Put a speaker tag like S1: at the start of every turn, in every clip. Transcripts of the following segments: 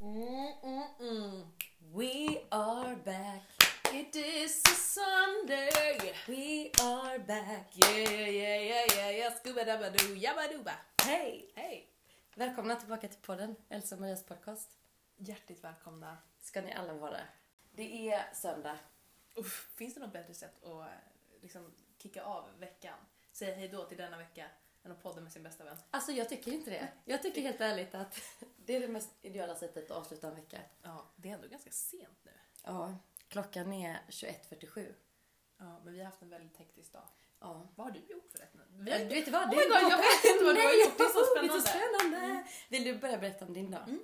S1: Mm,
S2: back, yeah, yeah, yeah, yeah, yeah, scooba-dabba-doo, yabba-dooba.
S1: Hej!
S2: Hej!
S1: Välkomna tillbaka till podden, Elsa och Marias podcast.
S2: Hjärtligt välkomna.
S1: Ska ni alla vara. Det är söndag.
S2: Uff, finns det något bättre sätt att eh, liksom kicka av veckan? Säga hej då till denna vecka än att podda med sin bästa vän.
S1: Alltså jag tycker inte det. Jag tycker helt ärligt att det är det mest ideala sättet att avsluta en vecka.
S2: Ja, det är ändå ganska sent nu.
S1: Ja, klockan är 21.47.
S2: Ja, men vi har haft en väldigt hektisk dag.
S1: Ja.
S2: Vad har du gjort förresten? Vi
S1: Du
S2: har...
S1: vet vad?
S2: Oh my
S1: Det är
S2: God,
S1: bara-
S2: jag vet inte vad du har
S1: Nej,
S2: gjort. Det är så
S1: det är
S2: spännande.
S1: så spännande. Mm. Vill du börja berätta om din dag?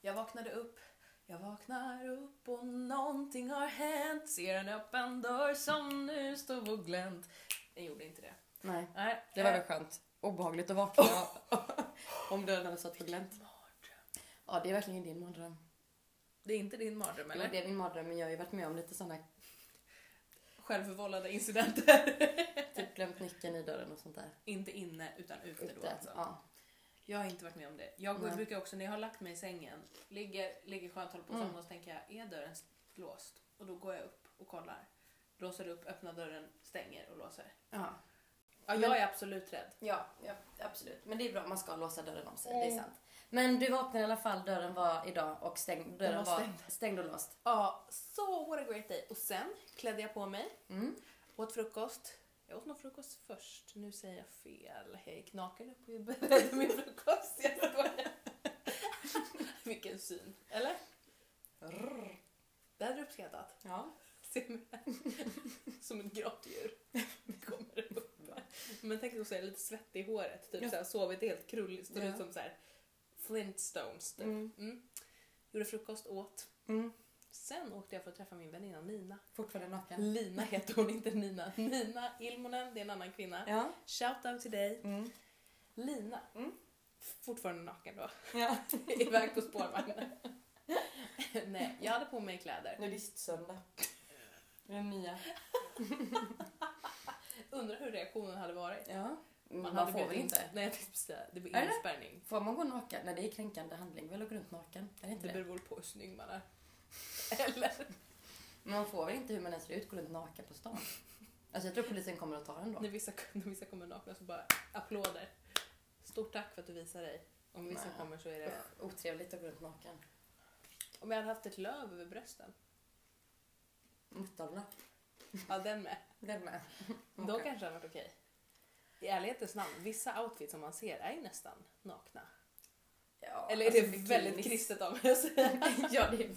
S2: Jag vaknade upp, jag vaknar upp och någonting har hänt. Ser en öppen dörr som nu stod och glänt. Jag gjorde inte det.
S1: Nej,
S2: Nej,
S1: det var
S2: eh,
S1: väl skönt. Obehagligt att vakna om dörren satt på glänt. Ja, det är verkligen din mardröm.
S2: Det är inte din mardröm
S1: Jo,
S2: eller?
S1: det är min mardröm, men jag har ju varit med om lite sådana
S2: Självförvållade incidenter.
S1: Typ glömt nyckeln i dörren och sånt där.
S2: inte inne utan ute, då
S1: Ute.
S2: alltså.
S1: Ja.
S2: Jag har inte varit med om det. Jag
S1: Nej.
S2: brukar också när jag har lagt mig i sängen, ligger, ligger skönt, håller på att somna och så tänker jag, är dörren låst? Och då går jag upp och kollar. Låser upp, öppnar dörren, stänger och låser.
S1: Ja.
S2: Ja,
S1: Men-
S2: jag är absolut rädd.
S1: Ja, ja, absolut. Men det är bra, man ska låsa dörren om sig. Det är sant. Men du vaknade i alla fall, dörren var idag och stängd. Dörren
S2: var
S1: var
S2: stängd.
S1: stängd. och låst.
S2: Ja, so what a great day. Och sen klädde jag på mig,
S1: Mm.
S2: åt frukost. Jag åt nog frukost först, nu säger jag fel. Jag gick naken upp och beredde min frukost. Jag skojar. Vilken syn, eller? Det hade du uppskattat.
S1: Ja.
S2: Se mig som ett grottdjur. Det kommer upp. Men tänk att så är lite svettig i håret, typ
S1: Ja.
S2: så här, sovit helt krulligt, står
S1: Ja.
S2: ut som så här flintstones. Typ.
S1: Mm.
S2: Mm. Gjorde frukost, åt.
S1: Mm.
S2: Sen åkte jag för att träffa min väninna Nina.
S1: Fortfarande naken.
S2: Lina heter hon, inte Nina. Nina Ilmonen, det är en annan kvinna.
S1: Ja.
S2: Shout out till dig.
S1: Mm.
S2: Lina.
S1: Mm.
S2: Fortfarande naken då.
S1: ja.
S2: Iväg på spårvagnen. Nej, jag hade på mig kläder.
S1: Nudistsöndag. Den nya.
S2: Undrar hur reaktionen hade varit.
S1: Ja. Man,
S2: hade
S1: får
S2: blivit
S1: väl
S2: in-
S1: inte?
S2: Nej, jag tänkte precis säga, det blir
S1: Eller?
S2: inspärrning.
S1: Får man gå naken? Nej, det är kränkande handling väl att gå runt naken? Är det inte
S2: Det
S1: det?
S2: beror på hur snygg man är. Eller?
S1: Men man får väl inte hur man än ser ut gå runt naken på stan? Alltså jag tror polisen kommer att ta den då.
S2: När vissa, när vissa kommer nakna så bara applåder. Stort tack för att du visar dig. Om vissa
S1: Nej.
S2: kommer så är det...
S1: Usch, Otrevligt att gå runt naken.
S2: Om jag hade haft ett löv över brösten.
S1: Muttavla.
S2: Ja, den med.
S1: Den med.
S2: Då kanske det hade varit okej. I ärlighetens namn, vissa outfits som man ser är ju nästan nakna.
S1: Ja,
S2: Eller är det
S1: alltså,
S2: väldigt
S1: bikinis.
S2: kristet av mig att säga?
S1: ja, det är...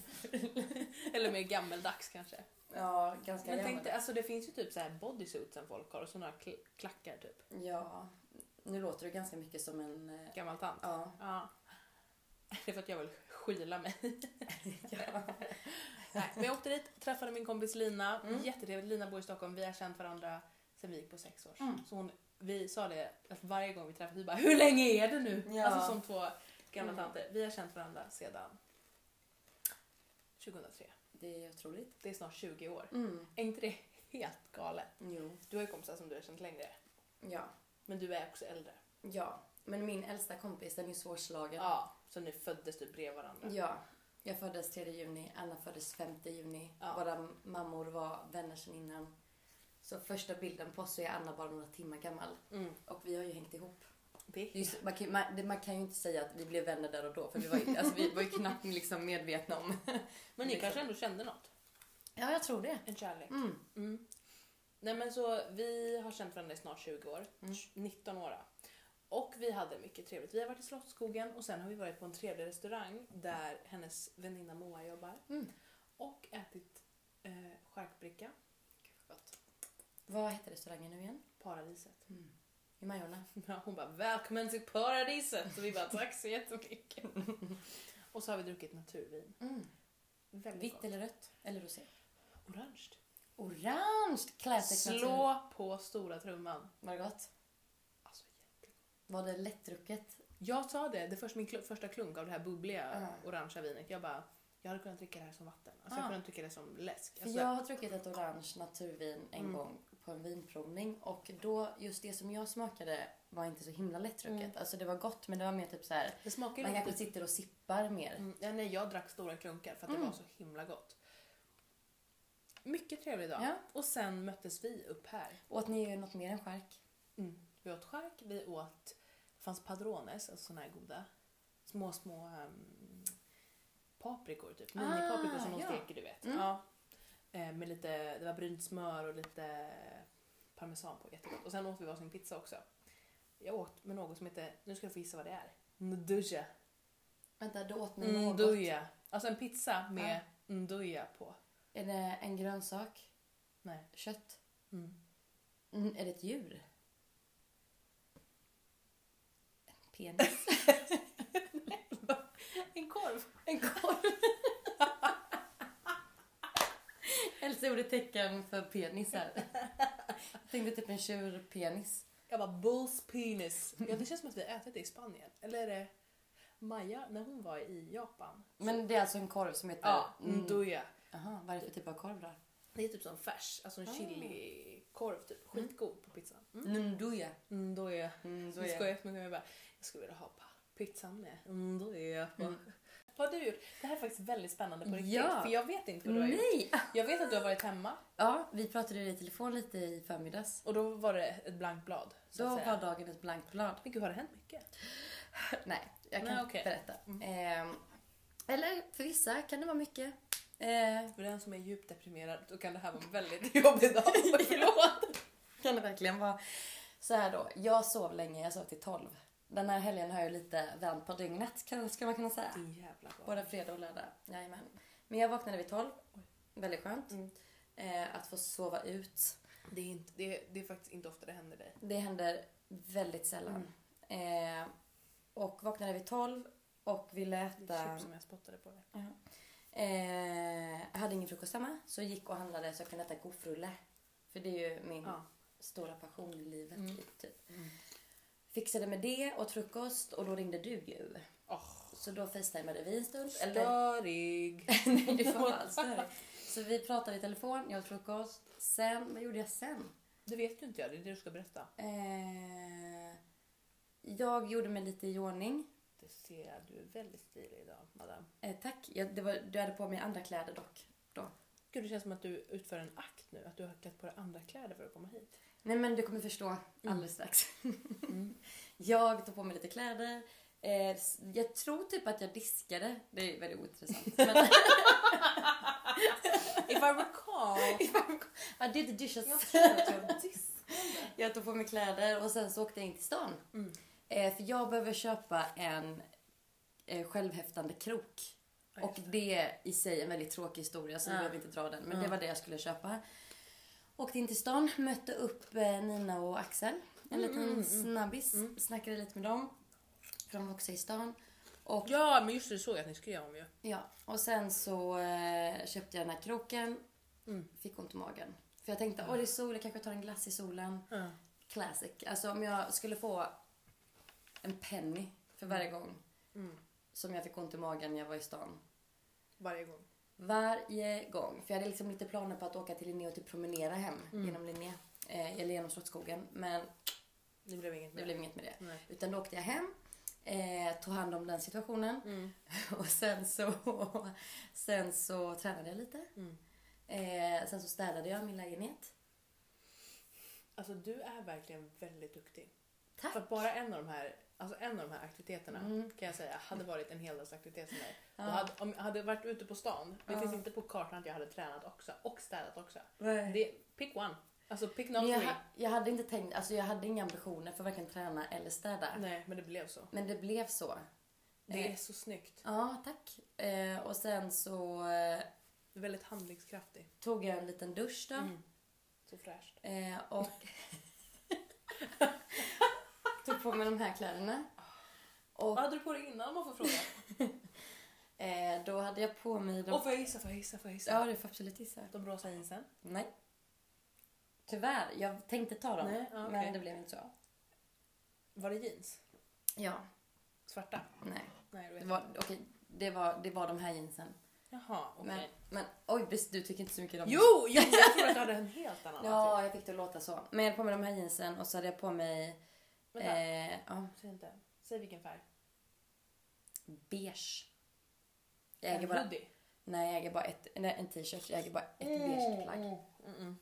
S2: Eller mer gammeldags kanske.
S1: Ja, ganska
S2: Men
S1: gammal.
S2: tänk dig, alltså det finns ju typ så här bodysuits som folk har och såna här kl- klackar typ.
S1: Ja. Nu låter du ganska mycket som en... eh,
S2: Gammal tant.
S1: Ja.
S2: Ja. Det är för att jag vill skyla mig.
S1: ja.
S2: Nej, men jag åkte dit, träffade min kompis Lina.
S1: Mm.
S2: Jättetrevligt. Lina bor i Stockholm. Vi har känt varandra sedan vi gick på sex år.
S1: Mm.
S2: Så hon, vi sa det att varje gång vi träffades, vi bara Hur länge är det nu?
S1: Ja.
S2: Alltså som två gamla
S1: Mm.
S2: tanter. Vi har känt varandra sedan 2003.
S1: Det är otroligt.
S2: Det är snart 20 år.
S1: Mm.
S2: Är inte det helt galet?
S1: Jo.
S2: Du har ju kompisar som du har känt längre.
S1: Ja.
S2: Men du är också äldre.
S1: Ja. Men min äldsta kompis, den är svårslagen.
S2: Ja. Så ni föddes typ bredvid varandra.
S1: Ja. Jag föddes 3 juni, Anna föddes 5 juni.
S2: Ja.
S1: Våra mammor var vänner sedan innan. Så första bilden på oss så är Anna bara några timmar gammal.
S2: Mm.
S1: Och vi har ju hängt ihop.
S2: Det är
S1: Det är ju så- man, kan, man, det- man kan ju inte säga att vi blev vänner där och då för vi var ju, alltså, vi var ju knappt liksom medvetna om...
S2: Men ni
S1: Det är
S2: kanske ändå kände något?
S1: Ja, jag tror det.
S2: En kärlek?
S1: Mm.
S2: Mm. Nej men så vi har känt varandra i snart 20 år, 19 år. Och vi hade mycket trevligt. Vi har varit i Slottsskogen och sen har vi varit på en trevlig restaurang där hennes väninna Moa jobbar.
S1: Mm.
S2: Och ätit eh, charkbricka. Gud, vad gott.
S1: Vad hette restaurangen nu igen?
S2: Paradiset.
S1: Mm. I Majorna?
S2: Ja, Hon bara “Välkommen till paradiset” och vi bara “Tack så jättemycket”. och så har vi druckit naturvin.
S1: Mm.
S2: Väldigt
S1: Vitt
S2: gott.
S1: eller rött? Eller rosé?
S2: Orange.
S1: Orange! Classic natur.
S2: Slå på stora trumman.
S1: Var det gott?
S2: Alltså,
S1: Var det lättdrucket?
S2: Jag sa det, det först, min kl- första klunk av det här bubbliga
S1: Ja.
S2: orangea vinet. Jag bara, jag hade kunnat dricka det här som vatten. Alltså, Jag
S1: Ja.
S2: hade kunnat dricka det som läsk.
S1: För
S2: Alltså,
S1: jag har druckit ett orange naturvin en gång på en vinprovning och då, just det som jag smakade var inte så himla lättdrucket. Alltså det var gott men det var mer typ så här.
S2: Det smakar ju typ-
S1: man kanske
S2: lite...
S1: sitter Mm. och sippar mer.
S2: Mm, ja, nej, jag drack stora klunkar för att det var så himla gott. Mycket trevlig dag.
S1: Ja.
S2: Och sen möttes vi upp här.
S1: Åt ni ju något mer än skärk?
S2: Mm. Vi åt skärk, vi åt, det fanns padrones, alltså såna här goda små, små ehm, paprikor typ.
S1: Ah,
S2: Minipaprikor som de
S1: ja.
S2: steker du vet.
S1: Mm.
S2: Ja. Eh, med lite, det var brynt smör och lite parmesan på, jättegott. Och sen åt vi varsin pizza också. Jag åt med något som heter, nu ska du få gissa vad det är. Nduja.
S1: Vänta, Mm, då åt ni något.
S2: Nduja. Alltså en pizza med nduja på.
S1: Är det en grönsak?
S2: Nej.
S1: Kött?
S2: Mm.
S1: Mm, är det ett djur? En penis?
S2: En korv.
S1: en korv? Elsa gjorde tecken för penisar. Jag tänkte typ en tjurpenis.
S2: Jag bara bulls penis. Ja, det känns som att vi har ätit det i Spanien. Eller är det Maja, när hon var i Japan.
S1: Men det är alltså en korv som heter...
S2: Ja,
S1: Mm.
S2: nduja.
S1: Aha, vad är det för typ av korv då?
S2: Det är typ som färs, alltså en
S1: Ah.
S2: chilikorv typ. Skitgod på pizzan. Mm.
S1: Nunduja.
S2: Nduja. Jag
S1: Nunduja.
S2: skojar eftersom jag bara, jag skulle vilja ha pa- pizzan med nduja. Mm. Vad har du gjort? Det här är faktiskt väldigt spännande på riktigt.
S1: Ja.
S2: För jag vet inte vad du har gjort.
S1: Nej!
S2: Jag vet att du har varit hemma
S1: Ja, vi pratade ju i telefon lite i förmiddags.
S2: och då var det ett blankt blad. Så
S1: Då
S2: att säga.
S1: var dagen ett blankt blad.
S2: Men gud, har det hänt mycket?
S1: Nej, jag kan
S2: Nej, okej. Mm.
S1: berätta. Ehm, eller för vissa kan det vara mycket. Ehm,
S2: För den som är djupt deprimerad, då kan det här vara en väldigt jobbig dag. Förlåt!
S1: kan det verkligen vara. Så här då, jag sov länge, jag sov till 12. Den här helgen har jag lite vänt på dygnet, kan, ska man kunna säga.
S2: Din jävla dag.
S1: Både fredag och lördag. Jajamän. Men jag vaknade vid 12. Väldigt skönt.
S2: Mm.
S1: Eh, att få sova ut.
S2: Det är, inte, det, är, det är faktiskt inte ofta det händer dig.
S1: Det händer väldigt sällan.
S2: Mm.
S1: Eh, och vaknade vid 12 och ville
S2: Det är
S1: äta...
S2: chips som jag spottade på dig.
S1: Eh, jag hade ingen frukost hemma så jag gick och handlade så jag kunde äta gofrulle. För det är ju min
S2: Ja.
S1: stora passion i livet. Typ.
S2: Mm.
S1: Fixade med det, åt frukost och då ringde du ju.
S2: Åh,
S1: Så då facetimade vi en stund. Eller,
S2: störig!
S1: nej, du får alls Så vi pratade i telefon, jag åt frukost. Sen, vad gjorde jag sen?
S2: Det vet ju inte jag, det är det du ska berätta.
S1: Eh, jag gjorde mig lite i ordning.
S2: Det ser jag, du är väldigt stilig idag madam.
S1: Eh, tack. Jag, det var, du hade på mig andra kläder dock. Då.
S2: Gud, det känns som att du utför en akt nu, att du har klätt på dig andra kläder för att komma hit.
S1: Nej men du kommer
S2: Mm.
S1: förstå alldeles strax. jag tog på mig lite kläder. Eh, s- jag tror typ att jag diskade. Det är väldigt ointressant. Men
S2: If I recall!
S1: I did the dishes.
S2: jag tror att jag diss.
S1: Jag tog på mig kläder och sen så åkte jag in till stan.
S2: Mm.
S1: Eh, för jag behöver köpa en eh, självhäftande krok.
S2: Ja,
S1: Och
S2: just
S1: det är i sig en väldigt tråkig historia så vi
S2: Ja.
S1: behöver inte dra den. Men det
S2: Ja.
S1: var det jag skulle köpa. Åkte in till stan, mötte upp eh, Nina och Axel.
S2: Mm,
S1: En liten snabbis. Snackade lite med dem. För de var också i stan. Och
S2: Ja, men just det, såg jag att ni skulle göra om ju.
S1: Ja, och sen så eh, köpte jag den här kroken.
S2: Mm.
S1: Fick ont i magen. För jag tänkte, åh det är sol, jag kanske tar en glass i solen.
S2: Ja.
S1: Classic. Alltså om jag skulle få en penny för varje gång
S2: Mm.
S1: som jag fick ont i magen när jag var i stan.
S2: Varje gång.
S1: Varje gång. För jag hade liksom lite planer på att åka till Linné och typ promenera hem
S2: Mm.
S1: genom Linné. Eh, eller genom Slottsskogen. Men
S2: Det blev inget
S1: det
S2: mer.
S1: blev inget med det.
S2: Nej.
S1: Utan då åkte jag hem, eh, tog hand om den situationen
S2: Mm.
S1: och sen så, sen så tränade jag lite.
S2: Mm.
S1: Eh, sen så städade jag min lägenhet.
S2: Alltså du är verkligen väldigt duktig.
S1: Tack!
S2: För att bara en av de här, alltså en av de här aktiviteterna
S1: Mm.
S2: kan jag säga hade varit en heldagsaktivitet för mig. Och Mm. hade, om jag hade varit ute på stan, det finns inte på kartan att jag hade tränat också och städat också.
S1: Nej.
S2: Det, pick one. Alltså pick not
S1: Men jag,
S2: three.
S1: ha- jag hade inte tänkt, alltså jag hade inga ambitioner för varken träna eller städa.
S2: Nej, men det blev så.
S1: Men det blev så.
S2: Det är så snyggt.
S1: Ja, tack. Eh, och sen så eh,
S2: Du är väldigt handlingskraftig.
S1: tog jag en liten dusch då.
S2: Så fräscht.
S1: Eh, och tog på mig de här kläderna. Och
S2: Vad hade du på dig innan om man får fråga?
S1: eh, då hade jag på mig de...
S2: Och får jag gissa, får jag gissa, får jag gissa?
S1: Ja, det får absolut gissa.
S2: De rosa jeansen?
S1: Nej. Tyvärr, jag tänkte ta dem.
S2: Nej, ja, okej.
S1: Men det blev inte så.
S2: Var det jeans?
S1: Ja,
S2: Svarta?
S1: nej.
S2: Nej, du vet
S1: Det
S2: inte.
S1: var, okej, det, var, det var de här jeansen.
S2: Jaha, okej.
S1: Men, men oj, visst, du tycker inte så mycket om typ. dem.
S2: Jo, jo, jag tror att du hade en helt annan attityd.
S1: Ja, jag fick det att låta så. Men jag hade på mig de här jeansen och så hade jag på mig...
S2: Vänta.
S1: Eh, ja,
S2: Säg inte. Säg vilken färg.
S1: beige. Jag
S2: En
S1: äger bara...
S2: hoodie.
S1: Nej, jag äger bara ett, nej, en t-shirt. Jag äger bara ett beige plagg.
S2: Mm,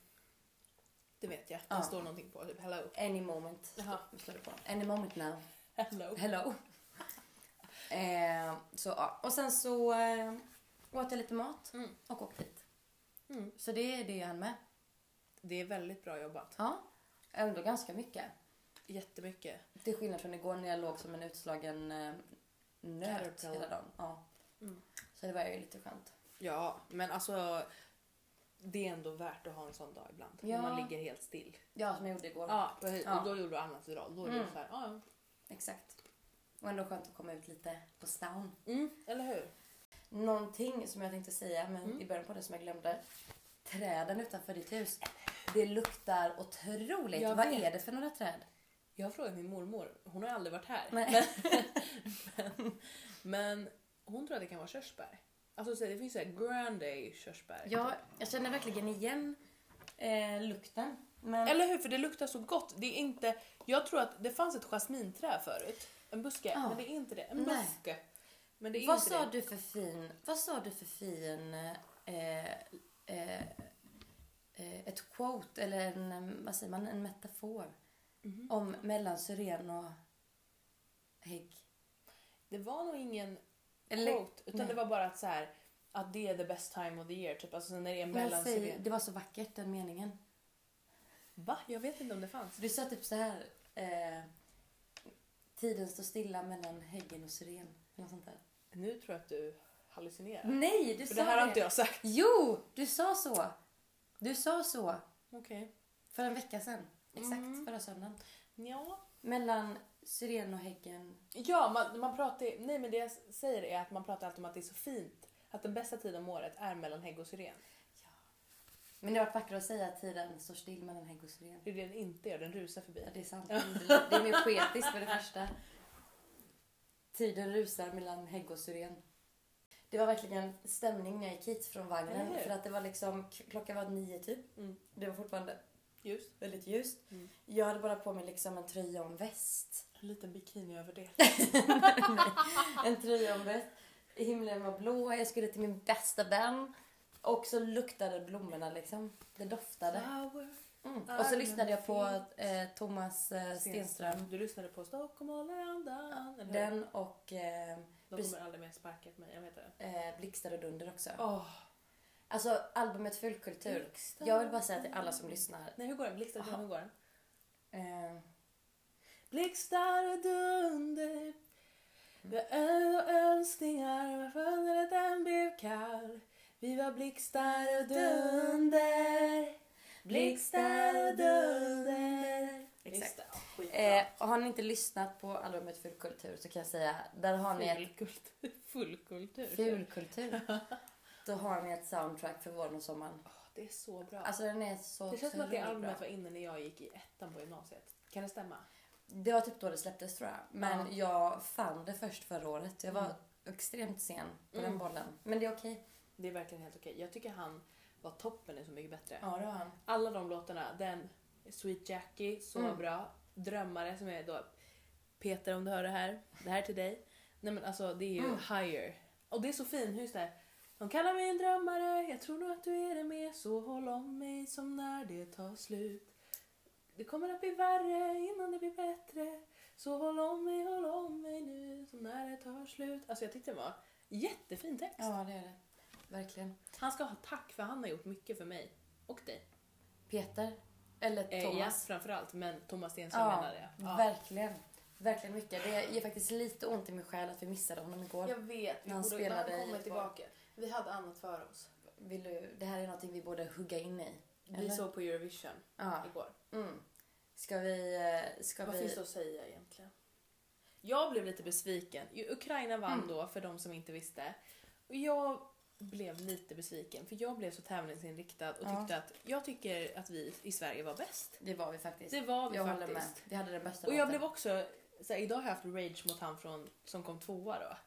S2: Det vet jag. Det
S1: Ja.
S2: står någonting på. Typ hello.
S1: Any moment står-
S2: Jaha.
S1: står det på. Any moment now.
S2: Hello.
S1: Hello. eh, så, ja. Och sen så eh, åt jag lite mat
S2: Mm.
S1: och åkte dit.
S2: Mm.
S1: Så det är det jag hann med.
S2: Det är väldigt bra jobbat.
S1: Ja, ändå ganska mycket.
S2: Jättemycket.
S1: Till skillnad från igår när jag låg som en utslagen eh, nöt
S2: Caterpillar.
S1: hela dagen. Ja.
S2: Mm.
S1: Så det var ju lite skönt.
S2: Ja, men alltså. Det är ändå värt att ha en sån dag ibland.
S1: Ja.
S2: När man ligger helt still.
S1: Ja, som jag gjorde igår.
S2: Ja, precis.
S1: Ja.
S2: Och då gjorde du annat idag. Då är det
S1: Mm.
S2: så här, ja,
S1: Exakt. Och ändå skönt att komma ut lite på stan.
S2: ja. Mm, eller hur?
S1: Någonting som jag tänkte säga men i början på det som jag glömde. Träden utanför ditt hus. Det luktar otroligt.
S2: Jag
S1: Vad
S2: vet.
S1: är det för några träd?
S2: Jag har frågat min mormor. Hon har ju aldrig varit här.
S1: Nej.
S2: Men, men hon tror att det kan vara körsbär. Alltså så det finns såhär Grand Day körsbär.
S1: Ja, jag känner verkligen igen eh, lukten. Men
S2: Eller hur? För det luktar så gott. Det är inte... Jag tror att det fanns ett jasminträ förut. En buske.
S1: Ja.
S2: Men det är inte det. En
S1: Nej.
S2: buske. Men det är
S1: vad
S2: inte
S1: sa
S2: det.
S1: du för fin... Vad sa du för fin... Eh, eh, eh, ett quote eller en, eh, vad säger man, en metafor
S2: Mhm.
S1: om mellan syren och hägg.
S2: Det var nog ingen
S1: Eller-
S2: quote. Utan
S1: nej.
S2: det var bara att så här att det är the best time of the year. Typ. Alltså när det är
S1: Men
S2: mellan
S1: säg,
S2: serien.
S1: det var så vackert den meningen.
S2: Va? Jag vet inte om det fanns.
S1: Du sa typ så här. Eh, Tiden står stilla mellan häggen och syren. Eller något sånt där.
S2: Nu tror jag att du hallucinerar.
S1: Nej, du
S2: För
S1: Mm, sa
S2: det här har inte jag sagt.
S1: Jo, du sa så. Du sa så
S2: Okej.
S1: för en vecka sedan. Exakt,
S2: Mm.
S1: förra söndagen.
S2: Ja.
S1: Mellan syren och häggen.
S2: Ja, man, man pratar, nej men det jag säger är att man pratar alltid om att det är så fint. Att den bästa tiden om året är mellan hägg och syren.
S1: Men det har varit vackrare att säga att tiden står still mellan hägg och syren.
S2: Det är det den inte gör, den rusar förbi.
S1: Ja, det är sant. Det är mer poetiskt för det första. Tiden rusar mellan hägg och syren. Det var verkligen stämning när jag gick hit från
S2: Eller
S1: vagnen.
S2: hur?
S1: För att det var liksom, klockan var nio typ.
S2: Mm.
S1: Det var fortfarande
S2: Just.
S1: väldigt ljust.
S2: Mm.
S1: Jag hade bara på mig liksom en tröja och en väst.
S2: En liten bikini över det. Ah.
S1: en tröja och en väst. Himlen var blå, jag skulle till min bästa vän. Och så luktade blommorna liksom. Det doftade.
S2: Flower.
S1: Mm.
S2: Ja,
S1: Och så
S2: men
S1: lyssnade jag på
S2: Ah, fint.
S1: eh, Thomas eh, Stenström.
S2: Du lyssnade på Stockholm all around us, eller hur?
S1: Den och eh,
S2: De
S1: precis.
S2: kommer aldrig mer sparka på mig, jag vet det.
S1: eh, Blixtar och Dunder också.
S2: Åh,
S1: Alltså albumet Fullkultur.
S2: blixtar.
S1: Jag vill bara säga till alla som lyssnar.
S2: Nej, hur går den? Blixtar och hur går den?
S1: Eh,
S2: Blixtar och dunder. Vi har öl och önskningar, men följden den blev kall. Vi var blixtar och dunder. Blixtar och dunder.
S1: Exakt.
S2: Exakt. Skitbra.
S1: eh, och har ni inte lyssnat på albumet Fullkultur så kan jag säga, där har ni ett
S2: Fullkultur. Fullkultur.
S1: Fulkultur. Då har ni ett soundtrack för våren och sommaren.
S2: Åh, Det är så bra.
S1: Alltså den är så
S2: det känns som att det
S1: otroligt
S2: albumet
S1: bra.
S2: var inne när jag gick i ettan på gymnasiet. Kan det stämma?
S1: Det var typ då det släpptes tror jag. Men jag fann det först förra året. Jag var
S2: Mm.
S1: extremt sen på
S2: Mm.
S1: den bollen. Men det är okej.
S2: Det är verkligen helt okej. Jag tycker han var toppen i Så mycket bättre.
S1: Ja, det var han.
S2: Alla de låtarna, den Sweet Jackie, så
S1: Mm.
S2: bra. Drömmare som är då Peter om du hör det här, det här är till dig. Nej men alltså det är ju
S1: Mm.
S2: higher. Och det är så fint, just det här. De kallar mig en drömmare, jag tror nog att du är det med. Så håll om mig som när det tar slut. Det kommer att bli värre innan det blir bättre. Så håll om mig, håll om mig nu som när det tar slut. Alltså jag tyckte det var jättefin text.
S1: Ja, det är det. Verkligen.
S2: Han ska ha tack för han har gjort mycket för mig. Och dig.
S1: Peter. Eller
S2: Eh,
S1: Thomas.
S2: Jazz framförallt, men Thomas Stenström
S1: Ja,
S2: menar det.
S1: verkligen. Verkligen mycket. Det ger faktiskt lite ont i min själ att vi missade honom igår.
S2: Jag vet, vi
S1: Han
S2: borde
S1: spelade
S2: han kommer
S1: i-
S2: tillbaka. Vi hade annat för oss.
S1: Vill du, det här är någonting vi borde hugga in i.
S2: Vi
S1: Eller?
S2: såg på Eurovision
S1: Ja.
S2: igår.
S1: Mm. Ska vi... eh, Ska
S2: Vad
S1: vi...
S2: finns det att säga egentligen? Jag blev lite besviken. Ju- Ukraina vann
S1: Mm.
S2: då, för de som inte visste. Och jag blev lite besviken, för jag blev så tävlingsinriktad och
S1: Ja.
S2: tyckte att jag tycker att vi i Sverige var bäst.
S1: Det var vi faktiskt.
S2: Det var vi
S1: jag håller med.
S2: faktiskt.
S1: Vi hade den bästa
S2: Och jag
S1: låten.
S2: blev också, så här, idag har jag haft rage mot han från, som kom tvåa då.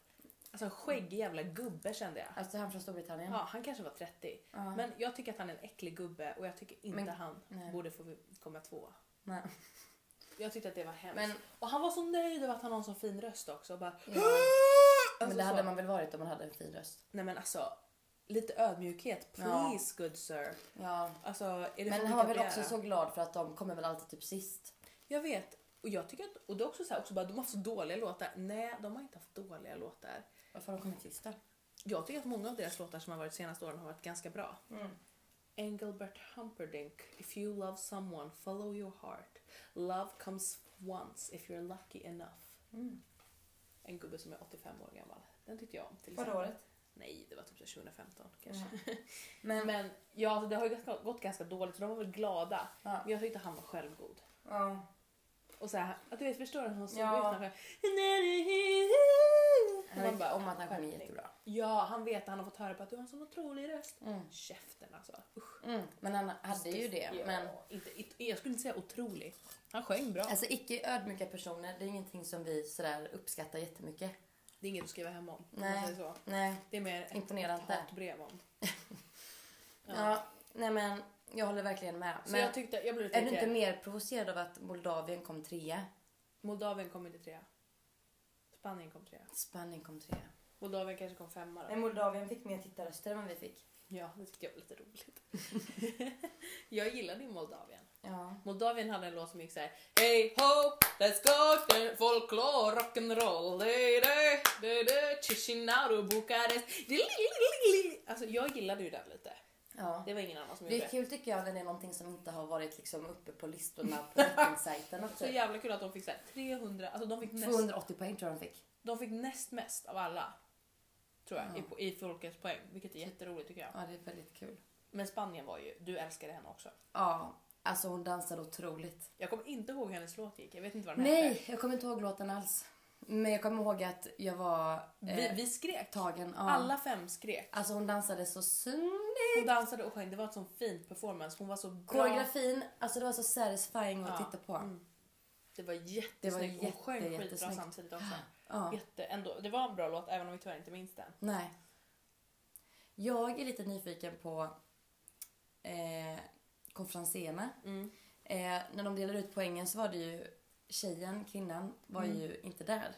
S2: Alltså en skäggig jävla gubbe kände jag.
S1: Alltså han från Storbritannien.
S2: Ja, han kanske var 30.
S1: Ja.
S2: Men jag tycker att han är en äcklig gubbe och jag tycker inte
S1: Men-
S2: han
S1: nej.
S2: borde få komma tvåa.
S1: Nej.
S2: Jag tyckte att det var hemskt.
S1: Men,
S2: Och han var så nöjd över att han har en sån fin röst också. Och bara,
S1: ja.
S2: Alltså
S1: men det
S2: så.
S1: hade man väl varit om man hade en fin röst.
S2: Nej men alltså, lite ödmjukhet. Please good sir.
S1: Ja.
S2: Alltså, är det för
S1: Men
S2: mycket
S1: han var
S2: att
S1: väl
S2: begära?
S1: också så glad för att de kommer väl alltid typ sist.
S2: Jag vet. Och jag tycker att, och det är också så här, också bara, de har haft så dåliga låtar. Nej, de har inte haft dåliga låtar.
S1: Varför har de kommit sist då?
S2: Jag tycker att många av deras låtar som har varit de senaste åren har varit ganska bra.
S1: Mm.
S2: Engelbert Humperdinck, If you love someone, follow your heart. Love comes once if you're lucky enough. Mm. En gubbe som är 85 år gammal. Den tyckte jag om till exempel.
S1: året? Mm.
S2: Nej, det var typ så här 2015 kanske.
S1: Liksom. Ja. Men,
S2: Men ja, alltså, det har ju ganska- gått ganska dåligt så de var väl glada.
S1: Ja.
S2: Men jag tyckte han var självgod.
S1: ja.
S2: Och så här, att du vet, förstår du hur han såg
S1: Ja.
S2: ut när
S1: Han
S2: Man
S1: vet
S2: bara,
S1: om att han kommer
S2: skärpning.
S1: jättebra.
S2: Ja, han vet att han har fått höra på att du har en sån otrolig röst.
S1: Mm.
S2: Käften alltså. Usch.
S1: Mm. Men han hade ju det.
S2: Ja,
S1: Men
S2: inte, inte, jag skulle inte säga otrolig. Han sjöng bra.
S1: alltså icke ödmjuka personer, det är ingenting som vi sådär uppskattar jättemycket.
S2: Det är inget att skriva hem om. om
S1: Nej.
S2: man säger så.
S1: Nej,
S2: Det är mer ett
S1: imponerar inte.
S2: hatbrev om.
S1: Ja. nej men jag håller verkligen med.
S2: Så
S1: Men
S2: jag tyckte, jag blev lite
S1: är du inte
S2: irriterad.
S1: mer provocerad av att Moldavien kom trea?
S2: Moldavien kom inte trea. Spanien kom trea.
S1: Spanien kom trea.
S2: Moldavien kanske kom femma då.
S1: Nej, Moldavien fick mer tittarröster än vad vi fick.
S2: Ja, det tyckte jag var lite roligt. jag gillade ju Moldavien.
S1: Ja.
S2: Moldavien hade en låt som gick så här. Hey ho, let's go, to folklore, rock'n'roll, hey, hey, hey, hey, Chisinau, Bukarest. Alltså jag gillade ju den lite.
S1: ja.
S2: Det var ingen annan som
S1: Det
S2: gjorde
S1: är
S2: det.
S1: kul tycker jag när det är någonting som inte har varit liksom uppe på listorna på bettingsajterna.
S2: Så
S1: Typ.
S2: jävla kul att de fick så här 300, alltså de fick näst,
S1: 280 poäng tror jag de fick.
S2: de fick näst mest av alla. Tror jag,
S1: Ja.
S2: i, i folkets poäng. Vilket är jätteroligt tycker jag.
S1: Ja, det är väldigt kul.
S2: Men Spanien var ju, du älskade henne också.
S1: Ja, alltså hon dansade otroligt.
S2: Jag kommer inte ihåg hur hennes låt gick, jag vet inte vad den hette.
S1: Nej, jag kommer inte ihåg låten alls. Men jag kommer ihåg att jag var eh,
S2: Vi, vi skrek.
S1: tagen av...
S2: Alla fem skrek.
S1: Alltså hon dansade så syndigt.
S2: Hon dansade och sjöng, det var ett sån fint performance. Hon var så bra.
S1: Koreografin, alltså det var så satisfying att
S2: Ja.
S1: titta på.
S2: Mm. Det var
S1: Det var
S2: jättesnyggt. Hon
S1: jätte-
S2: sjöng skitbra
S1: jättesnyggt.
S2: samtidigt också.
S1: Ja.
S2: Jätte, ändå, det var en bra låt även om vi tyvärr inte minns den.
S1: Nej. Jag är lite nyfiken på eh, konferenserna. Eh, när de delade ut poängen så var det ju tjejen, kvinnan, var
S2: Mm.
S1: ju inte där.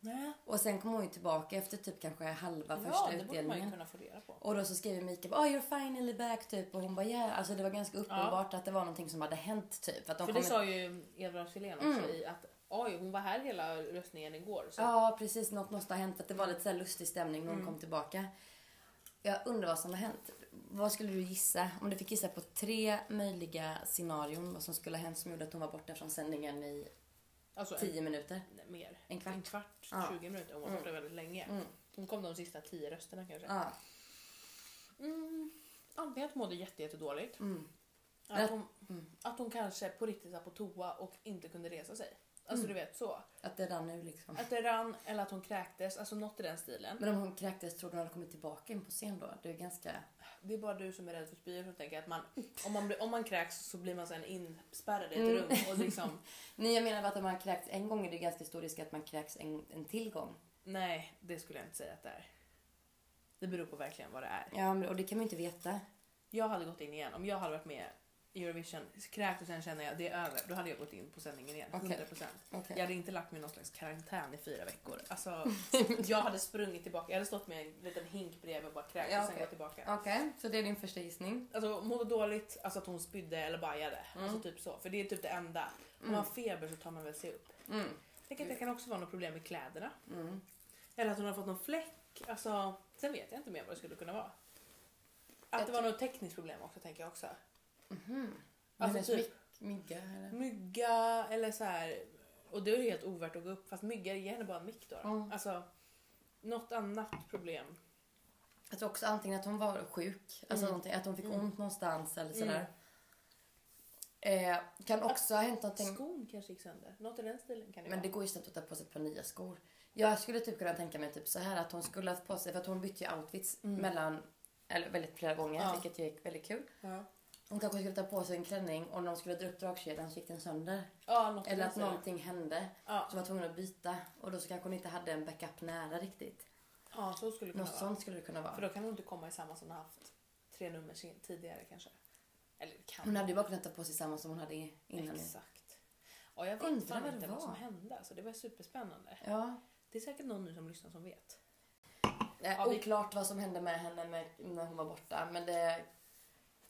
S2: Nej.
S1: Och sen kom hon ju tillbaka efter typ kanske halva
S2: Ja,
S1: första
S2: det borde man ju
S1: utdelningen.
S2: kunna få reda på.
S1: Och då så skrev Mikael oh, you're finally back typ och hon bara yeah. Alltså det var ganska uppenbart att det var någonting som hade hänt typ. Att de
S2: För
S1: kom
S2: det sa ju Edvard Sillén också i att oj, hon var här hela röstningen igår. Så.
S1: Ja precis, något måste ha hänt för att det var lite så här lustig stämning när hon kom tillbaka. Jag undrar vad som har hänt. Vad skulle du gissa? Om du fick gissa på tre möjliga scenarion vad som skulle ha hänt som gjorde att hon var borta från sändningen i
S2: Alltså en,
S1: tio minuter.
S2: nej, mer.
S1: en kvart.
S2: En kvart,
S1: Ja. Mm.
S2: 20 minuter. Hon var borta väldigt länge. Hon kom de sista tio rösterna kanske.
S1: Ja.
S2: Antingen att hon mådde jätte, jättedåligt.
S1: Mm.
S2: Att, hon, att hon kanske på riktigt var på toa och inte kunde resa sig. Alltså
S1: Mm.
S2: du vet så.
S1: Att det rann nu liksom.
S2: Att det rann eller att hon kräktes, alltså något i den stilen.
S1: Men om hon kräktes trodde hon hade kommit tillbaka in på scen då? Det är ganska...
S2: Det är bara du som är rädd för spyor som tänker att man, om, man blir, om man kräks så blir man sen inspärrad i ett
S1: Mm.
S2: rum och liksom
S1: Nej jag menar bara att om man kräks en gång är det ganska stor risk att man kräks en, en till gång.
S2: nej det skulle jag inte säga att det är. Det beror på verkligen vad det är.
S1: Ja men- och det kan man ju inte veta.
S2: Jag hade gått in igen om jag hade varit med i Eurovision, kräkt och sen känner jag det är över, då hade jag gått in på sändningen igen.
S1: Okej.
S2: 100%.
S1: Okej.
S2: Jag hade inte lagt mig i någon slags karantän i fyra veckor. Alltså, jag hade sprungit tillbaka, jag hade stått med en liten hink bredvid och bara kräkt
S1: Ja,
S2: och sen
S1: okej.
S2: gått tillbaka.
S1: Okej, så det är din första gissning.
S2: Alltså mådde dåligt, alltså att hon spydde eller bajade.
S1: Mm.
S2: Alltså typ så. För det är typ det enda. Om man har feber så tar man väl sig upp.
S1: Mm.
S2: Tänk att det kan också vara något problem med kläderna. Eller att hon har fått någon fläck. Alltså, sen vet jag inte mer vad det skulle kunna vara. Att det var något tekniskt problem också tänker jag också.
S1: Mhm. Alltså
S2: Alltså typ
S1: typ... Mygga eller?
S2: mygga eller så här. Och det är ju helt ovärt att gå upp. Fast mygga ger henne bara en mick då.
S1: Mm.
S2: Alltså, något annat problem.
S1: Jag tror också antingen att hon var sjuk,
S2: Mm.
S1: alltså någonting, att hon fick ont någonstans eller sådär. Eh, kan också ha hänt någonting,
S2: Skon kanske gick sönder. Något i den stilen kan det
S1: men det
S2: vara.
S1: går ju snabbt att ta på sig ett par nya skor. Jag skulle typ kunna tänka mig typ så här att hon skulle ha haft på sig, för att hon bytte ju outfits mellan, eller väldigt flera gånger,
S2: Mm. Ja.
S1: vilket ju är väldigt kul.
S2: Ja,
S1: Hon kanske skulle ta på sig en klänning och när hon skulle dra upp dragkedjan så gick den sönder.
S2: ja något i
S1: Eller
S2: den
S1: att
S2: stilen.
S1: någonting hände
S2: Ja.
S1: som var tvungen att byta och då så kanske hon inte hade en backup nära riktigt.
S2: Ja, så skulle det kunna
S1: Något
S2: vara.
S1: sånt skulle det kunna vara.
S2: För då kan hon inte komma i samma som hon haft tre nummer sin- tidigare kanske. Eller kan
S1: Hon hade ju bara kunnat ta på sig samma som hon hade i- innan.
S2: Exakt. Ja, jag
S1: Undrar
S2: vet fan
S1: vad det
S2: inte vad
S1: var.
S2: som hände. Alltså, det var superspännande.
S1: Ja.
S2: Det är säkert någon nu som lyssnar som vet.
S1: Eh,
S2: Ja, vi-
S1: Oklart vad som hände med henne med, när hon var borta men det...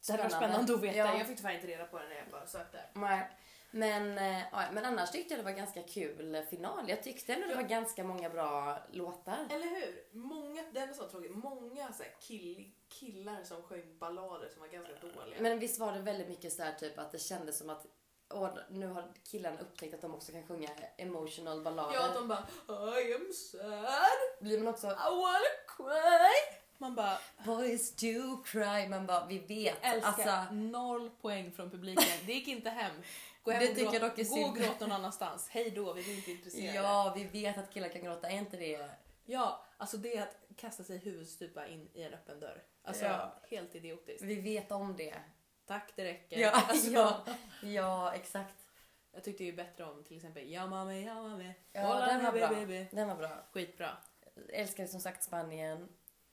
S2: Det hade varit spännande att veta.
S1: Ja.
S2: Jag fick tyvärr inte reda på det när jag bara sökte.
S1: Nej. Men, eh, ja, men annars tyckte jag det var ganska kul final. Jag tyckte ändå det var ganska många bra låtar.
S2: Eller hur? Många, det enda som var tråkigt, många så här kill, killar som sjöng ballader som var ganska dåliga.
S1: Men visst var det väldigt mycket så här typ att det kändes som att åh, nu har killarna upptäckt att de också kan sjunga emotional ballader.
S2: ja, att de bara I am sad,
S1: Blir man också
S2: I wanna cry. Man bara
S1: boys do cry. Man bara vi vet.
S2: älskar
S1: Alltså,
S2: noll poäng från publiken. Det gick inte hem. Gå hem
S1: Det
S2: och
S1: tycker
S2: gråt,
S1: jag dock är
S2: gå och
S1: synd.
S2: gråt någon annanstans. Hej då, vi är inte intresserade.
S1: ja vi vet att killar kan gråta. Är inte det?
S2: ja, alltså det är att kasta sig huvudstupa in i en öppen dörr. Alltså
S1: Ja.
S2: helt idiotiskt.
S1: Vi vet om det.
S2: Tack det räcker.
S1: Ja,
S2: Alltså,
S1: ja, ja exakt.
S2: Jag tyckte ju bättre om till exempel Yamame Yamame.
S1: Ja,
S2: Hola,
S1: den var
S2: baby,
S1: bra.
S2: baby.
S1: Den var bra.
S2: Skitbra.
S1: Älskar som sagt Spanien.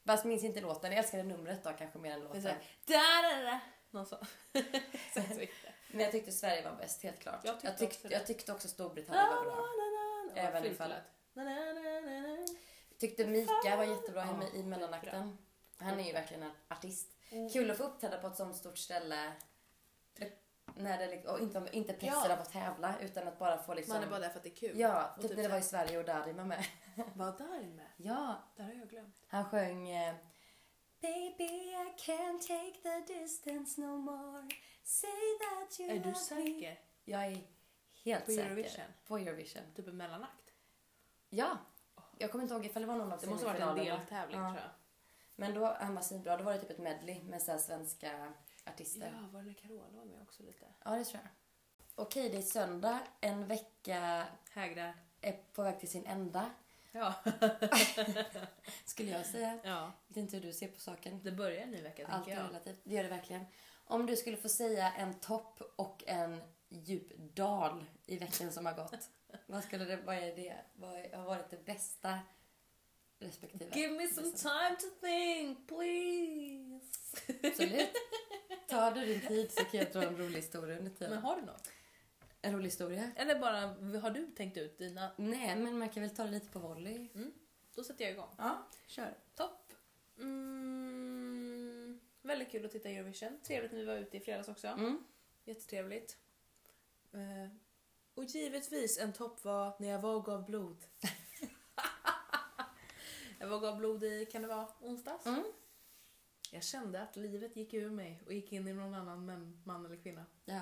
S1: Fast minns inte låten. Jag älskade numret då kanske mer än
S2: Det är
S1: låten.
S2: så här, da, da, da. Någon sån. Sen så gick det.
S1: Men jag tyckte Sverige var bäst, helt klart.
S2: Jag tyckte
S1: jag, tyckte,
S2: också det. Ah!
S1: jag tyckte också Storbritannien var bra.
S2: Ja,
S1: Även
S2: fint
S1: ifall-
S2: det lät. Na, na, na, na, na.
S1: Tyckte Mika var jättebra
S2: Ja,
S1: hemma i mellanakten. Han är ju verkligen en artist. Kul att få uppträda på ett sånt stort ställe. När det, liksom- och inte, inte pressen
S2: Ja.
S1: av att tävla utan att bara få liksom...
S2: Man är bara där för att det är kul.
S1: Ja,
S2: Och
S1: typ
S2: typ
S1: när det
S2: så
S1: var
S2: här-
S1: i Sverige och Darin var med.
S2: Vad där med?
S1: Ja,
S2: Där har jag glömt.
S1: han sjöng eh, Baby I can't take the distance no more Say that you
S2: Är du
S1: love me
S2: säker?
S1: Jag är helt
S2: På
S1: säker.
S2: Eurovision?
S1: På Eurovision.
S2: Typ en mellanakt?
S1: Ja. Jag kommer inte ihåg ifall det var någon av
S2: Det måste ha varit en
S1: semifinalerna.
S2: deltävling
S1: Ja.
S2: tror jag.
S1: Men då, han var svinbra. Då var det typ ett medley med så här svenska artister.
S2: Ja, var det när Carola var med också lite?
S1: Ja, det tror jag. Okej, det är söndag. En vecka
S2: Hägra.
S1: är på väg till sin ända,
S2: Ja.
S1: skulle jag säga.
S2: ja.
S1: Jag vet inte hur du ser på saken.
S2: Det börjar en ny vecka
S1: Allt
S2: tänker
S1: är
S2: jag.
S1: relativt. Det gör det verkligen. Om du skulle få säga en topp och en djup dal i veckan som har gått. vad, skulle det, vad är det? Vad är- har varit det bästa respektive?
S2: Give me some time to think, please.
S1: Absolut. Tar du din tid så kan jag dra en rolig historia under
S2: Men
S1: tiden.
S2: har du något?
S1: En rolig historia?
S2: Eller bara, har du tänkt ut dina?
S1: Nej, men man kan väl ta det lite på volley.
S2: Då sätter jag igång.
S1: Ja, kör.
S2: Topp. Mm, väldigt kul att titta Eurovision. Trevligt när vi var ute i fredags också.
S1: Mm.
S2: Jättetrevligt. Eh, och givetvis en topp var när jag var och gav blod. jag var och gav blod i, kan det vara, onsdags?
S1: Mm.
S2: Jag kände att livet gick ur mig och gick in i någon annan man, man eller kvinna.
S1: Ja.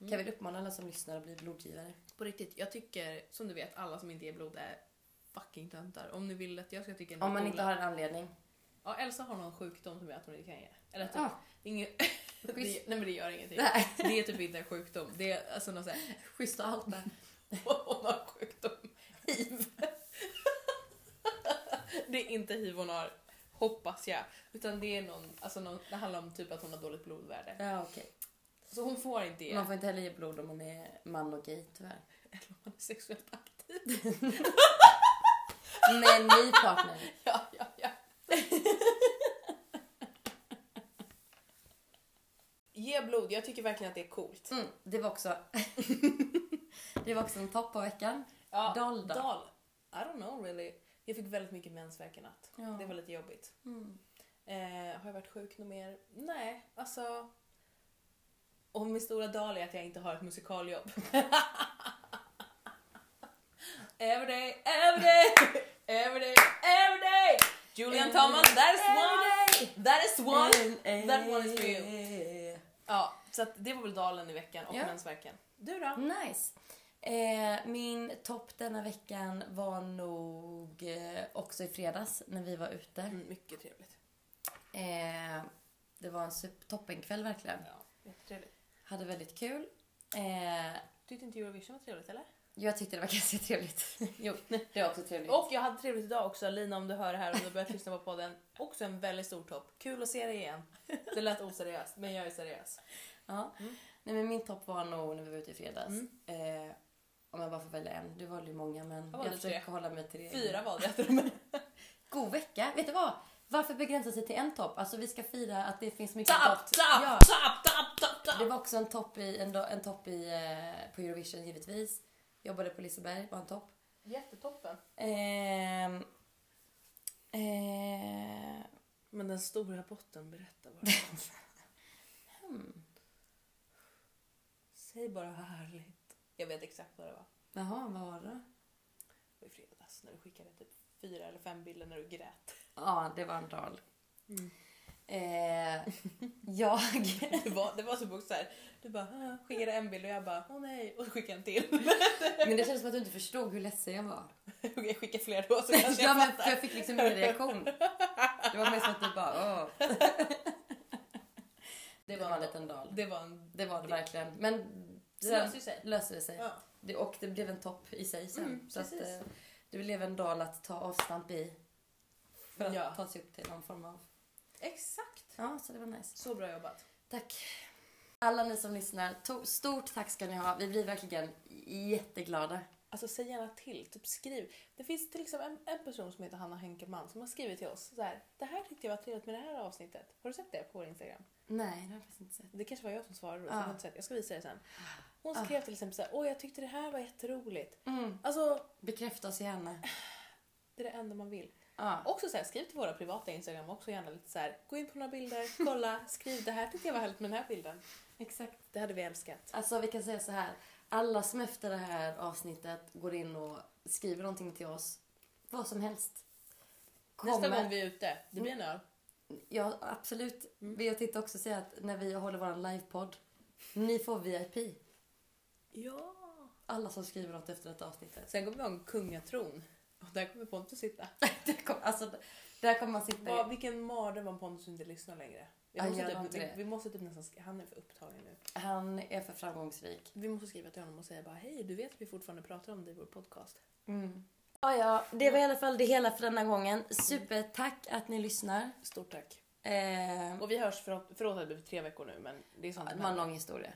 S2: Mm.
S1: Kan vi uppmana alla som lyssnar att bli blodgivare?
S2: På riktigt, jag tycker som du vet, alla som inte ger blod är fucking töntar. Om ni vill att jag ska tycka
S1: Om man
S2: coola-
S1: inte har en anledning.
S2: Ja, Elsa har någon sjukdom som gör att hon inte kan ge. Eller typ,
S1: Ja.
S2: det är inget... det, nej
S1: Schysst.
S2: men det gör ingenting.
S1: Nej.
S2: Det är typ inte en sjukdom. Det är alltså någon sån här,
S1: Schysst och allt där.
S2: hon har sjukdom. Hiv. det är inte hiv hon har, hoppas jag. Utan det är någon, alltså någon, det handlar om typ att hon har dåligt blodvärde.
S1: Ja, okej.
S2: Så hon får inte ge.
S1: Man får inte heller ge blod om man är man och gay, tyvärr.
S2: Eller om man är sexuellt aktiv.
S1: Med en ny partner.
S2: Ja, ja, ja. Ge blod, jag tycker verkligen att det är coolt.
S1: Mm, det var också... det var också en topp på veckan.
S2: Ja,
S1: Dal då?
S2: Dal. I don't know really. Jag fick väldigt mycket mensvärk i natt.
S1: Ja.
S2: Det var lite jobbigt.
S1: Mm.
S2: Eh, har jag varit sjuk något mer? Nej, alltså. Och min stora dal är att jag inte har ett musikaljobb. every day, every day, every day, every day. Julian
S1: Every
S2: Thomas, that is one,
S1: day.
S2: that is one.
S1: Eh,
S2: that one is for
S1: eh.
S2: Ja, så att det var väl dalen i veckan och
S1: Ja.
S2: mensvärken. Du då?
S1: Nice. Eh, min topp denna veckan var nog eh, också i fredags när vi var ute.
S2: Mm, mycket trevligt.
S1: Eh, det var en super- toppenkväll verkligen.
S2: Ja, jättetrevligt.
S1: Hade väldigt kul. Eh,
S2: Tyckte inte Eurovision var trevligt eller?
S1: jag tyckte det var ganska trevligt. jo, det var också trevligt.
S2: Och jag hade trevligt idag också, Lina om du hör det här och du har börjat lyssna på podden. Också en väldigt stor topp. Kul att se dig igen. Det lät oseriöst, men jag är seriös.
S1: Ja.
S2: Mm.
S1: Nej, men min topp var nog när vi var ute i fredags.
S2: Mm.
S1: Eh, om jag bara får välja en. Du valde ju många men
S2: valde
S1: jag, försöker hålla mig till det.
S2: Fyra valde jag till och med.
S1: God vecka! Vet du vad? Varför begränsa sig till en topp? Alltså vi ska fira att det finns mycket
S2: Tapp,
S1: gott. Ja.
S2: tapp, tapp, tapp, tapp,
S1: Det
S2: tapp!
S1: var också en topp, i, en, do- en topp i, eh, på Eurovision givetvis. Jobbade på Liseberg, var en topp.
S2: Jättetoppen.
S1: Ehm, Eh,
S2: Men den stora botten, berätta bara.
S1: hmm.
S2: Säg bara härligt. Jag vet exakt vad det var.
S1: Jaha, vad var det?
S2: Det var i fredags när du skickade typ fyra eller fem bilder när du grät.
S1: Ja, det var en dal.
S2: Mm.
S1: Eh, jag...
S2: Det var, det var så också så här. Du bara "Ah", skickade en bild och jag bara åh nej och skickade en till.
S1: Men det känns som att du inte förstod hur ledsen jag var.
S2: Okej, skicka fler då så kanske
S1: ja,
S2: jag
S1: men för
S2: fattar.
S1: Alltså, jag fick liksom ingen reaktion. Det var mer som att du bara åh. Det var en liten dal.
S2: Det var en...
S1: Det var det verkligen. Men
S2: Det
S1: sen
S2: löser ju sig.
S1: löste det sig.
S2: Ja.
S1: Det, och det blev en topp i sig sen.
S2: Mm,
S1: så att,
S2: precis.
S1: eh, det blev en dal att ta avstamp i. För att
S2: Ja.
S1: ta sig upp till någon form av...
S2: Exakt.
S1: Ja, så det var nice.
S2: Så bra jobbat.
S1: Tack. Alla ni som lyssnar, to- stort tack ska ni ha. Vi blir verkligen jätteglada.
S2: Alltså säg gärna till, typ skriv. Det finns till exempel en, en person som heter Hanna Henkelman som har skrivit till oss så här. Det här tyckte jag var trevligt med det här avsnittet. Har du sett det på vår Instagram?
S1: Nej, det har jag faktiskt inte sett.
S2: Det kanske var jag som svarade då, så
S1: Ja.
S2: jag, har inte sett. jag ska visa det sen. Hon skrev till exempel så här. Åh, jag tyckte det här var jätteroligt.
S1: Mm.
S2: Alltså,
S1: Bekräfta oss gärna.
S2: det är det enda man vill.
S1: Ja.
S2: Också så här, skriv till våra privata Instagram också gärna lite så här. Gå in på några bilder, kolla, skriv. Det här tyckte jag var härligt med den här bilden.
S1: Exakt.
S2: Det hade vi älskat.
S1: Alltså vi kan säga så här. Alla som efter det här avsnittet går in och skriver någonting till oss, vad som helst.
S2: Nästa gång
S1: Kommer.
S2: vi Mm. är ute, det blir en öl.
S1: Ja, absolut. Vi Jag tänkte också säga att när vi håller vår livepodd, ni får VIP.
S2: Ja.
S1: Alla som skriver något efter detta avsnittet.
S2: Sen kommer vi ha en kungatron. Och där kommer Pontus sitta.
S1: Det kom, alltså, där kommer man sitta
S2: Vad,
S1: i.
S2: vilken mardröm om Pontus inte lyssnar längre. Vi
S1: Ja,
S2: måste,
S1: gör
S2: typ,
S1: inte
S2: vi,
S1: det.
S2: vi måste typ nästan, sk- han är för upptagen nu.
S1: Han är för framgångsrik.
S2: Vi måste skriva till honom och säga bara hej, du vet att vi fortfarande pratar om dig i vår podcast. Mm.
S1: Ja, ja, det var i alla fall det hela för denna gången. Supertack att ni lyssnar.
S2: Stort tack.
S1: Eh,
S2: Och vi hörs, förlåt förlåt att det blir tre veckor nu men det är sånt
S1: det
S2: som
S1: var en
S2: händer.
S1: lång historia.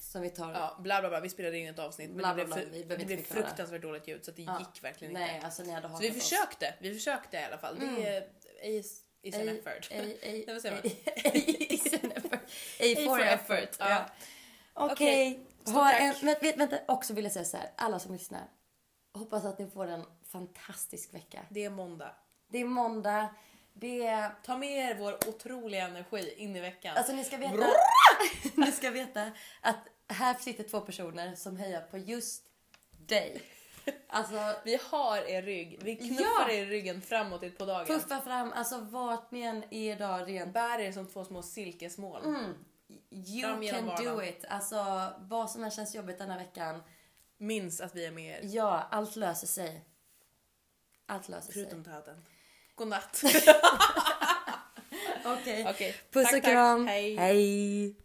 S1: Som vi tar
S2: Ja, bla bla bla, vi spelade in ett avsnitt men
S1: Bla, bla,
S2: det blev,
S1: bla,
S2: fru-
S1: vi behöver
S2: det
S1: inte
S2: blev
S1: förklara.
S2: fruktansvärt dåligt ljud så att det
S1: Ja.
S2: gick verkligen
S1: Nej,
S2: inte.
S1: alltså ni hade
S2: Så
S1: hatat
S2: vi försökte, vi försökte i alla fall.
S1: Mm.
S2: Det är is, is an
S1: Ej,
S2: effort.
S1: Ej, ej,
S2: Nej, vad säger man?
S1: ej, ej, is an effort. Ej
S2: Ej
S1: for
S2: for
S1: effort.
S2: effort, ja.
S1: Okej.
S2: Stort
S1: Ha en,
S2: tack.
S1: vänta, vänta, också vill jag säga så här. Alla som lyssnar. Hoppas att ni får en fantastisk vecka.
S2: Det är måndag.
S1: Det är måndag. Det är...
S2: Ta med er vår otroliga energi in i veckan.
S1: Alltså ni ska veta... ni ska veta att här sitter två personer som hejar på just dig. Alltså,
S2: Vi har er rygg. Vi knuffar
S1: Ja.
S2: er i ryggen framåt på dagen.
S1: puffa fram. Alltså vart ni än är idag rent
S2: Bär er som två små silkesmål.
S1: Mm.
S2: Fram
S1: You
S2: genom
S1: can do
S2: vardagen.
S1: it. Alltså vad som än känns jobbigt denna veckan.
S2: Minns att vi är med er.
S1: Ja, allt löser sig. Allt löser
S2: Förutom
S1: sig.
S2: töden. Godnatt.
S1: Okej.
S2: Okej.
S1: Puss
S2: Tack,
S1: och
S2: tack.
S1: kram.
S2: Hej.
S1: Hej.